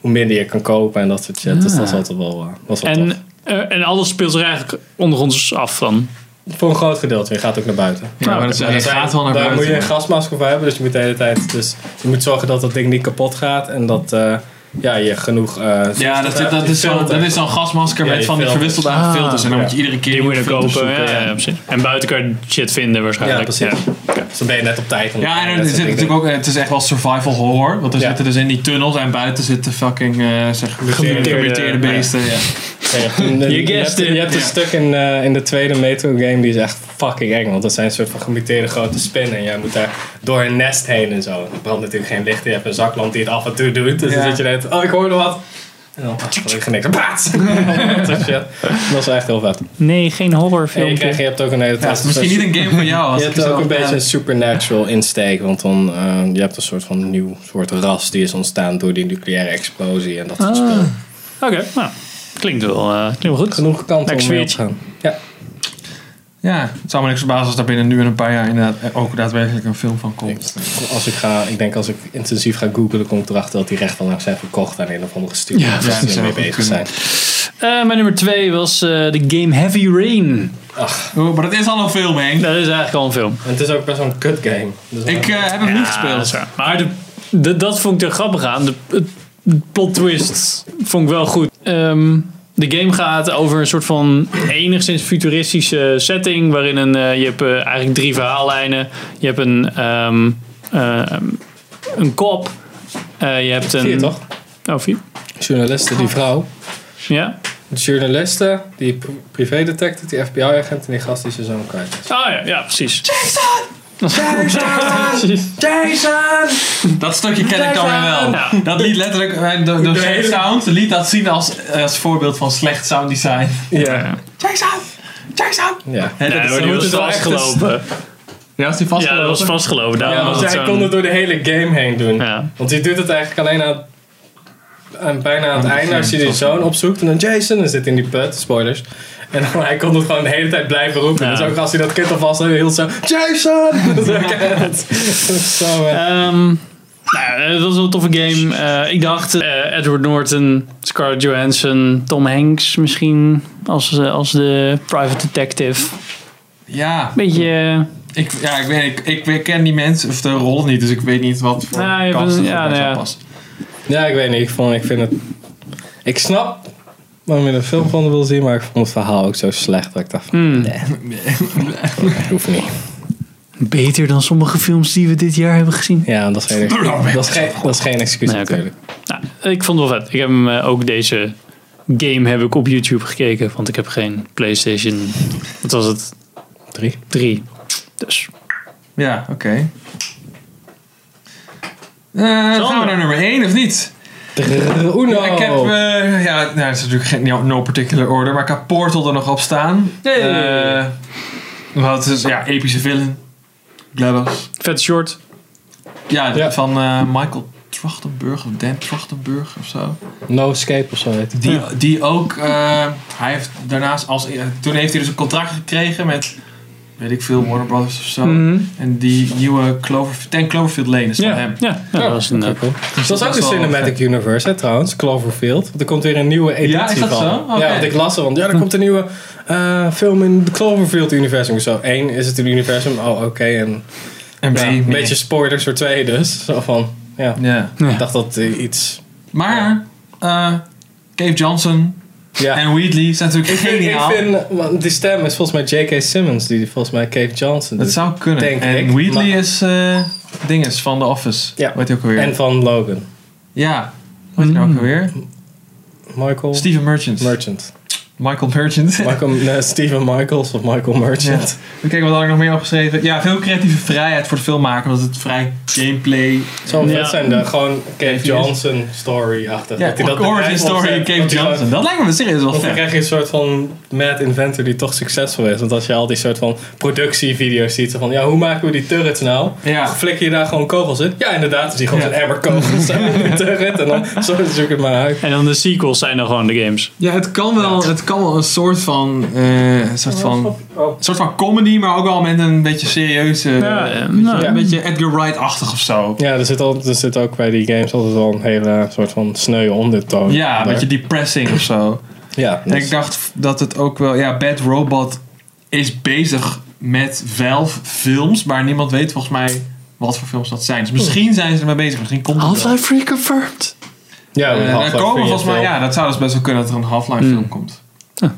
hoe minder je kan kopen en dat soort shit. Dus Ah. dat is altijd wel, eh, was wel tof. En, eh, en alles speelt zich eigenlijk ondergronds af dan. Voor een groot gedeelte. Je gaat ook naar buiten. Nou, Ja, maar dat Ja, is- je daar- gaat wel naar daar buiten. moet je een gasmasker voor hebben, dus je moet de hele tijd. Dus je moet zorgen dat dat ding niet kapot gaat en dat eh, ja, je genoeg. eh, Ja, zuurstof dat, hebt, dat, je is zo'n filter. dat is zo'n gasmasker Ja, met je van die filters. verwisselde aan Ah, filters. En dan ja. moet je iedere keer Die moet je nieuwe dan filters kopen. zoeken, Ja, ja, precies. En buiten kan je shit vinden Ja, waarschijnlijk. precies. Dus dan ben je net op tijd. om- Ja, dat en er soort zit dingen. natuurlijk ook, het is echt wel survival horror. Want er Ja. zitten dus in die tunnels en buiten zitten fucking eh zeg, Gemuteerde- gemuteerde beesten. Ja. Ja, je hebt een- You je guessed hebt- Je it. hebt een Ja. stuk in, eh, in de tweede Metro game die is echt fucking eng. Want dat zijn een soort van gemuteerde grote spinnen. En jij moet daar door een nest heen en zo. Er brandt natuurlijk geen licht. Je hebt een zaklamp die het af en toe doet. Dus Ja. dan zit je net, oh ik hoorde wat. En dan, ah, gelukkig niks. Paats! dat soort shit. Dat is echt heel vet. Nee, geen En je, horrorfilm. krijgt, je hebt ook een hele Ja, het is misschien niet een game voor jou. Als je ik hebt zo- eh, ook een beetje ja. een supernatural insteek, want dan eh, je hebt een soort van nieuw soort ras die is ontstaan door die nucleaire explosie en dat Ah. soort spullen. Oké, nou. Klinkt wel, eh, klinkt wel goed. Genoeg kanten Lekker om mee op te sfeertje. gaan. Ja. Ja, het zou me niks verbazen als daar binnen nu en een paar jaar inderdaad eh, ook daadwerkelijk een film van komt. Als ik ga, ik denk als ik intensief ga googlen, kom ik erachter dat die rechten lang zijn verkocht aan een of andere studio. Ja, Ja, dat ja, zou mee goed bezig kunnen. zijn. Eh, mijn nummer twee was eh, de game Heavy Rain. Oh, maar dat is al een film, Henk. Dat is eigenlijk al een film. En het is ook best wel een kut game. Dus Ik eh, heb hem niet dat gespeeld. is waar. Maar de, de- dat vond ik er grappig aan. De, het- de plot twist vond ik wel goed. Ehm, de game gaat over een soort van enigszins futuristische setting. Waarin een, eh, je hebt eh, eigenlijk drie verhaallijnen. Je hebt een, ehm, ehm, een kop. Eh, je hebt een... zie je toch? Oh, vier. Journalisten, die vrouw. Ja? De journalisten, die pr- privédetective, die FBI-agent en die gast die zijn zoon kwijt is. Oh ja, ja precies. Dat stukje ken ik dan weer wel. Ja. Dat liet letterlijk, eh, do- docent Sound liet dat zien als, eh, als voorbeeld van slecht sound design. Ja, Jason! Jason! Ja. Hè, dat ja is- maar dan die moet was het wel echt vastgelopen. een- Ja, was die vast? Ja, dat was vastgelopen. Daarom Ja, was want het hij zo'n- kon het door de hele game heen doen. Ja. Want hij doet het eigenlijk alleen aan, aan bijna aan het het einde als je die begin, zoon opzoekt. En dan Jason, dan zit hij in die put, spoilers. En dan, hij kon het gewoon de hele tijd blijven roepen. Ja. Dus ook als hij dat kind alvast heel zo... Jason! Dat is ook echt- dat is zo, eh, Ehm, nou, eh, dat was wel een toffe game. Eh, ik dacht eh, Edward Norton, Scarlett Johansson, Tom Hanks misschien als, eh, als de private detective. Ja, Beetje, eh, ik, ja ik, weet, ik, ik ken die mensen of de rol niet, dus ik weet niet wat voor Nou, je kansen bent- er ja, bij nou zou ja. passen. Ja, ik weet niet. Ik, vond, ik vind het... Ik snap waarom je er een film van wil zien, maar ik vond het verhaal ook zo slecht dat ik dacht van... Nee. nee, hoeft niet. beter dan sommige films die we dit jaar hebben gezien. Ja, dat is geen, dat is geen, dat is geen excuus Nee, oké. natuurlijk. Nou, ik vond het wel vet. Ik heb hem eh, ook deze game heb ik op YouTube gekeken, want ik heb geen PlayStation. Wat was het? Drie. 3. Dus. Ja, oké. Eh, gaan we naar nummer 1 of niet? Uno! Ik heb, eh, ja, nou, het is natuurlijk geen no, no particular order, maar ik heb Portal er nog op staan. Hey. Eh, wat is, ja, epische villain. GLaDOS. Vet short. Ja, Ja. van eh, Michael Trachtenburg of Dan Trachtenburg of zo. No Escape of zo heet Die, die ook, eh, hij heeft daarnaast als, eh, toen heeft hij dus een contract gekregen met weet ik veel, Warner Brothers of zo. En die nieuwe Cloverfield, ten Cloverfield lane is Oh, van Mhm. Ja, ja, hem. ja, dat was een... eh, Dat is ook is de wel Cinematic Universe, hè, trouwens. Cloverfield. Want er komt weer een nieuwe editie Ja, is dat van. zo? Oké. Ja, want ik las ervan. Ja, er komt een nieuwe eh, film in het Cloverfield-universum. Zo, één is het een universum. Oh, oké. En En ja, B, een meer. beetje spoilers voor twee dus. Zo van, ja. Ja. Ik dacht dat eh, iets... Maar, eh Cave Johnson Ja. en Wheatley zijn natuurlijk Ik- ik geniaal. vind, want die stem is volgens mij J.K. Simmons, die volgens mij Cave Johnson Dat doet. zou kunnen. Denk en ik, Wheatley maar- is eh dinges van The Office. Ja. Weet je ook alweer. En van Logan. ja. Wat is Mhm. nou ook alweer? Michael Steven Merchant. Merchant. Michael Merchant. Michael, nee, Steven Michaels of Michael Ja. Merchant. We kijken wat had ik nog meer opgeschreven. Ja, veel creatieve vrijheid voor de filmmaker. Omdat het vrij gameplay... Zo vet Ja. zijn de gewoon Cave Johnson story-achtig. Ja, Dat hij dat origin erbij story opzet, Cave dat hij Johnson. gewoon- Dat lijkt me serieus wel Want dan vet. krijg je een soort van mad inventor die toch succesvol is. Want als je al die soort van productievideo's ziet, zo van ja, hoe maken we die turrets nou? Ja. Flikker je daar gewoon kogels in? Ja, inderdaad. Dus die gewoon Ja. zo'n emmer kogels aan in de turret. En dan zo zoek het maar uit. En dan de sequels zijn dan gewoon de games. Ja, het kan wel, het kan wel een soort van, eh, een soort van... Een soort van comedy, maar ook wel met een beetje serieuze... Ja, eh, een beetje, nou. een beetje Edgar Wright-achtig of zo. Ja, er zit, al, er zit ook bij die games altijd wel een hele soort van sneu ondertoon. Ja, een Daar. beetje depressing of zo. Ja, En dus- ik dacht dat het ook wel... Ja, Bad Robot is bezig met Valve films, maar niemand weet volgens mij wat voor films dat zijn. Dus misschien zijn ze ermee bezig, misschien komt het wel. Half-Life reconfirmed. ja, Eh, Oh, een daar Half-Life komen 3 volgens mij, film. ja, dat zou dus best wel kunnen dat er een Half-Life Hmm. film komt.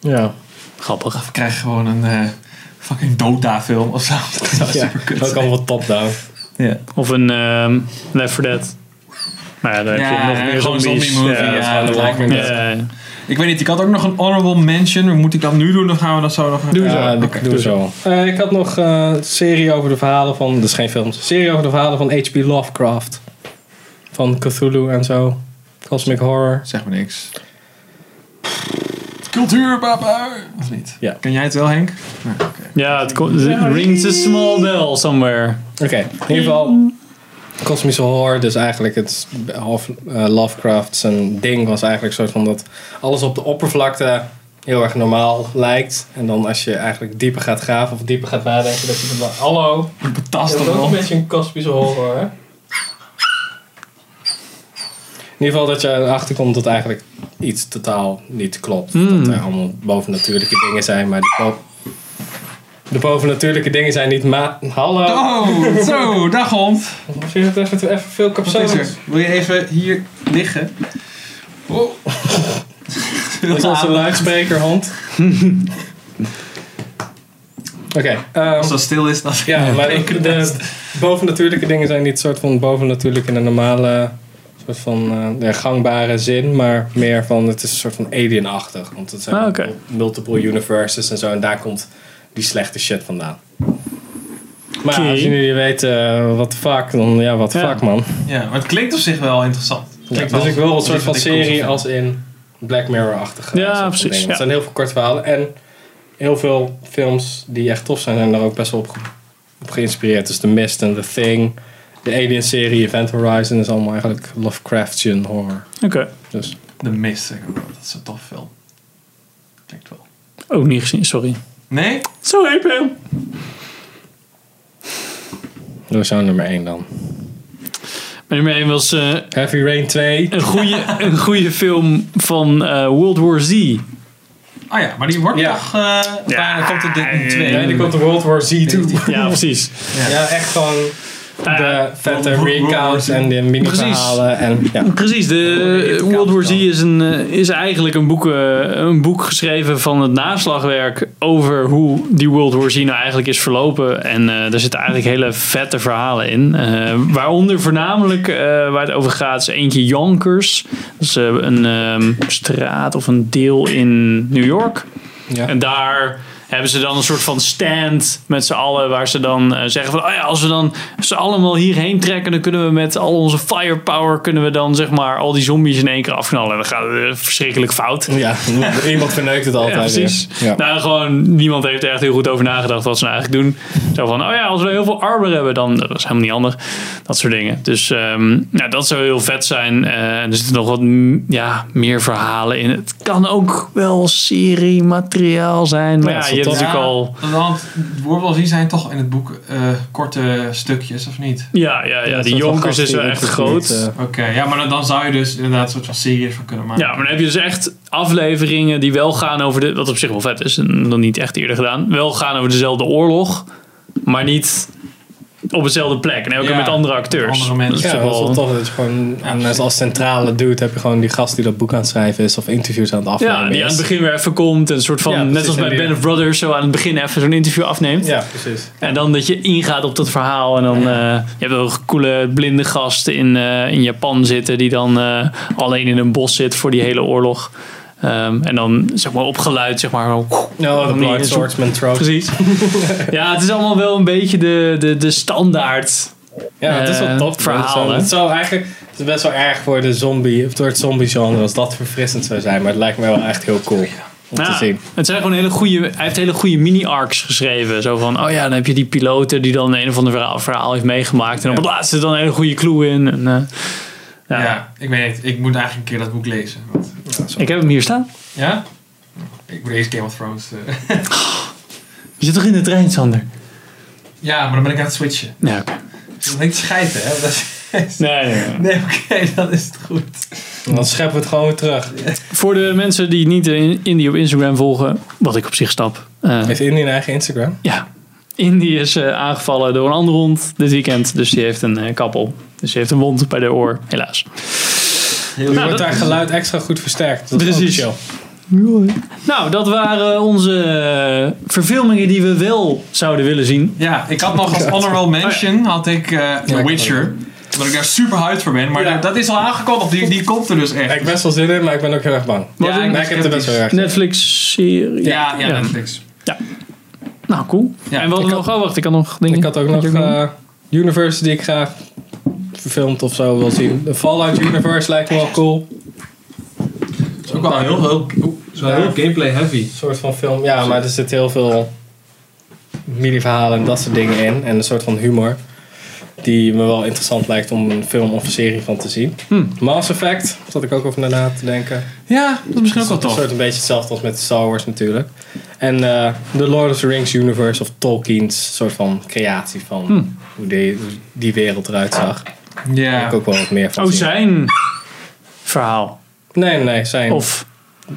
Ja. Grappig. We krijgen gewoon een eh, fucking Dota film of zo. Dat zou Ja, super kut ook zijn. allemaal top-down. Ja. Of een ehm Left 4 Dead. Nou ja, dan heb je Ja, nog meer gewoon zombies. zombie movie, Ja, ja. dat dat lijkt me lijkt ja, net. ja, ja. Ik weet niet, ik had ook nog een honorable mention. Moet ik dat nu doen of gaan we dat zo nog... Doe Ja, zo. oké. doe zo. Eh, ik had nog een serie over de verhalen van. Dus geen films. Serie over de verhalen van H.P. Lovecraft. Van Cthulhu en zo. Cosmic Horror. Zeg maar niks. Cultuur, papa! Of niet? Ja. Ken jij het wel, Henk? Nee, oké. Ja, het komt- it rings a small bell somewhere. Oké, in ieder geval. Cosmische horror, dus eigenlijk het half, eh, Lovecraft zijn ding was eigenlijk een soort van dat alles op de oppervlakte heel erg normaal lijkt. En dan als je eigenlijk dieper gaat graven of dieper gaat nadenken, dat je dan denkt, hallo, Betast Dat toch is ook wel. een beetje een kosmische horror, hè? In ieder geval dat je erachter komt dat eigenlijk iets totaal niet klopt. Hmm. Dat er allemaal bovennatuurlijke dingen zijn, maar de, bo- de bovennatuurlijke dingen zijn niet ma... Hallo! Oh, zo, dag hond. Vind je het even, even veel Wat is er? capsules? Wil je even hier liggen? Oh. Dat is onze luidsprekerhond. Oké. ehm, Als dat stil is, dan... Ja, maar de, de bovennatuurlijke dingen zijn niet soort van bovennatuurlijk in een normale soort van eh, ja, gangbare zin, maar meer van het is een soort van alien-achtig. Want het zijn Ah, oké. multiple universes en zo, en daar komt die slechte shit vandaan. Maar Oké. als jullie niet weten wat fuck, dan ja, wat Ja. fuck man. Ja, maar het klinkt op zich wel interessant. Ja, Klinkt dus ik wil een soort van klinkt wel serie cool. als in Black Mirror-achtige. Ja, soort van precies, dingen. ja. Het zijn heel veel korte verhalen en heel veel films die echt tof zijn, zijn daar ook best wel op, ge- op geïnspireerd. Dus The Mist en The Thing, de Alien-serie, Event Horizon is allemaal eigenlijk Lovecraftian horror. Oké, Dus De Mist, zeg ik wel. dat is een tof film. Klinkt wel. ook niet gezien, sorry. Nee? Sorry, Pim. dat is jouw nummer 1 dan. Mijn nummer 1 was eh, Heavy Rain 2. een, goede, een goede film van eh, World War Z. Ah ja, maar die wordt Ja. toch... eh ja. komt er dit in twee. Nee, dan komt de World War Z toe. Ja, precies. Ja, echt gewoon de vette World War recounts Z. en de mini-verhalen. En, ja. Precies, de eh, World War Z is, een, eh, is eigenlijk een boek, eh, een boek geschreven van het naslagwerk over hoe die World War Z nou eigenlijk is verlopen. En eh, daar zitten eigenlijk hele vette verhalen in. Eh, waaronder voornamelijk eh, waar het over gaat is eentje Yonkers. Dat is eh, een ehm, straat of een deel in New York. Ja. En daar hebben ze dan een soort van stand met z'n allen. Waar ze dan eh, zeggen van, oh ja, als we dan ze allemaal hierheen trekken. Dan kunnen we met al onze firepower, kunnen we dan zeg maar al die zombies in één keer afknallen. En dan gaat het eh, verschrikkelijk fout. Ja, iemand verneukt het altijd Ja, precies. weer. Ja. Nou, gewoon, niemand heeft er echt heel goed over nagedacht wat ze nou eigenlijk doen. Zo van, oh ja, als we heel veel armen hebben, dan dat is helemaal niet handig. Dat soort dingen. Dus ehm, nou, dat zou heel vet zijn. Eh, en er zitten nog wat mm, ja, meer verhalen in. Het kan ook wel serie materiaal zijn. Maar Ja, ja, dat is hebt toch? natuurlijk al... Want woordenwalzie zijn toch in het boek eh, korte stukjes, of niet? Ja, ja, ja. een Die soort van jonkers gast is die wel het echt niet, groot. eh, Oké, ja, maar dan, dan zou je dus inderdaad een soort van series van kunnen maken. Ja, maar dan heb je dus echt afleveringen die wel gaan over de. Wat op zich wel vet is, en dan niet echt eerder gedaan. Wel gaan over dezelfde oorlog, maar niet op dezelfde plek. En elke keer Ja, met andere met acteurs. andere mensen. Dat is Ja, toch dat is wel- wel tof dat je gewoon aan- eh, als centrale dude heb je gewoon die gast die dat boek aan het schrijven is of interviews aan het afnemen Ja, die aan is. het begin weer even komt. En een soort van, Ja, precies, net als bij en die- Band of Brothers, zo aan het begin even zo'n interview afneemt. Ja, precies. En dan dat je ingaat op dat verhaal. En dan eh, je hebt ook coole blinde gasten in, eh, in Japan zitten. Die dan eh, alleen in een bos zit voor die hele oorlog. Ehm, en dan zeg maar opgeluid, zeg maar. gewoon- Nou, de Om die- Blood Swordsman trope. Precies. ja, het is allemaal wel een beetje de, de, de standaard. Ja, het is wel eh, tof. verhaal, het, hè? zou, het zou eigenlijk het is best wel erg voor de zombie, of door het zombie genre, als dat verfrissend zou zijn. Maar het lijkt me wel echt heel cool om Ja, te zien. Nou, Het zijn gewoon hele goede. Hij heeft hele goede mini-arcs geschreven. Zo van: oh ja, dan heb je die piloten die dan een of ander verhaal, verhaal heeft meegemaakt. En op het laatste dan een hele goede clue in. En, eh, Ja. ik weet niet. Ik moet eigenlijk een keer dat boek lezen. want- ik heb hem hier staan. ja? Ik moet eerst Game of Thrones. eh. Je zit toch in de trein, Sander? ja, maar dan ben ik aan het switchen. Ja, oké. Dus dan ben ik te scheiden, hè? want dat is- Nee, nee, nee. Nee, oké, dan is het goed. En dan scheppen we het gewoon weer terug. Voor de mensen die niet eh, Indie op Instagram volgen, wat ik op zich snap. eh, Heeft Indie een eigen Instagram? Ja. Indy is eh, aangevallen door een andere hond dit weekend. Dus die heeft een eh, kappel. Dus die heeft een wond bij de oor, helaas. Nu Nou, wordt dat- daar geluid extra goed versterkt. Dat is Precies. precies. Chill. Nou, dat waren onze eh, verfilmingen die we wel zouden willen zien. Ja, ik had nog als honorable mention had ik eh, The ik Witcher. Omdat ik daar super hyped voor ben. Maar Ja. dat is al aangekondigd, die, die komt er dus Ik echt. heb best wel zin in, maar ik ben ook heel erg bang. Ja, een ben Maar ik heb er best wel erg Netflix-serie. Ja, ja, Netflix. Nou, cool. Ja, en we hadden ik nog... Oh, wacht, ik had nog... Denk Ik had ook nog eh Universe die ik graag verfilmd of zo wil zien. De Fallout Universe lijkt me wel cool. Het is ook wel heel, heel, oeh, het is wel heel Ja. gameplay heavy. Een soort van film, ja, maar er zit heel veel mini-verhalen en dat soort dingen in. En een soort van humor. Die me wel interessant lijkt om een film of een serie van te zien. Mass Effect zat ik ook over na te denken. Ja, dat is misschien ook wel Een tof. soort een beetje hetzelfde als met Star Wars natuurlijk. En eh, de Lord of the Rings universe of Tolkien's soort van creatie van hoe die, hoe die wereld eruit zag. Daar Ja. heb ik ook wel wat meer van Oh, zien. zijn verhaal. Nee, nee, nee, zijn. Of, Of...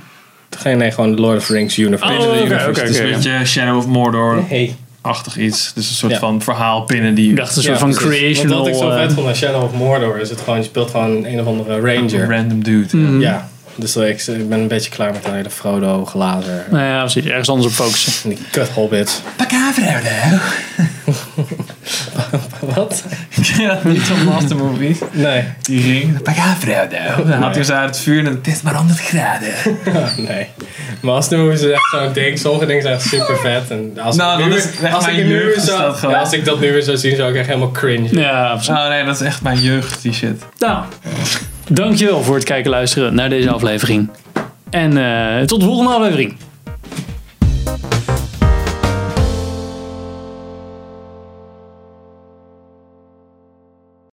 geen, nee, gewoon de Lord of the Rings universe. Oh, Binnen oké, de universe. oké, Dus Het is oké. een beetje Shadow of Mordor. Hey. achtig iets. Dus een soort Ja. van verhaal binnen die Ik dacht een soort Ja, van precies. creational... Want wat ik zo eh, vet vond aan Shadow of Mordor is het gewoon, je speelt gewoon een of andere ranger. random dude. Ja, dus ik, ik ben een beetje klaar met dat hele Frodo glazer. nou ja, precies. Ergens anders op focussen. En die kut hobbits. Wat? Ja, niet zo'n master movie. Nee, Die ring. Pagavrodo. Dan had hij ze uit het vuur en het is maar 100 graden. nee. Maar als nu is het echt zo'n ding. Sommige dingen zijn echt super vet. En als Nou, ik dat nu, is echt als mijn ik nu jeugd, weer is zou, dat gewoon. ja, als ik dat nu weer zou zien, zou ik echt helemaal cringe. Ja, absoluut. Oh nee, dat is echt mijn jeugd, die shit. Nou, dankjewel voor het kijken en luisteren naar deze aflevering. En eh, tot de volgende aflevering.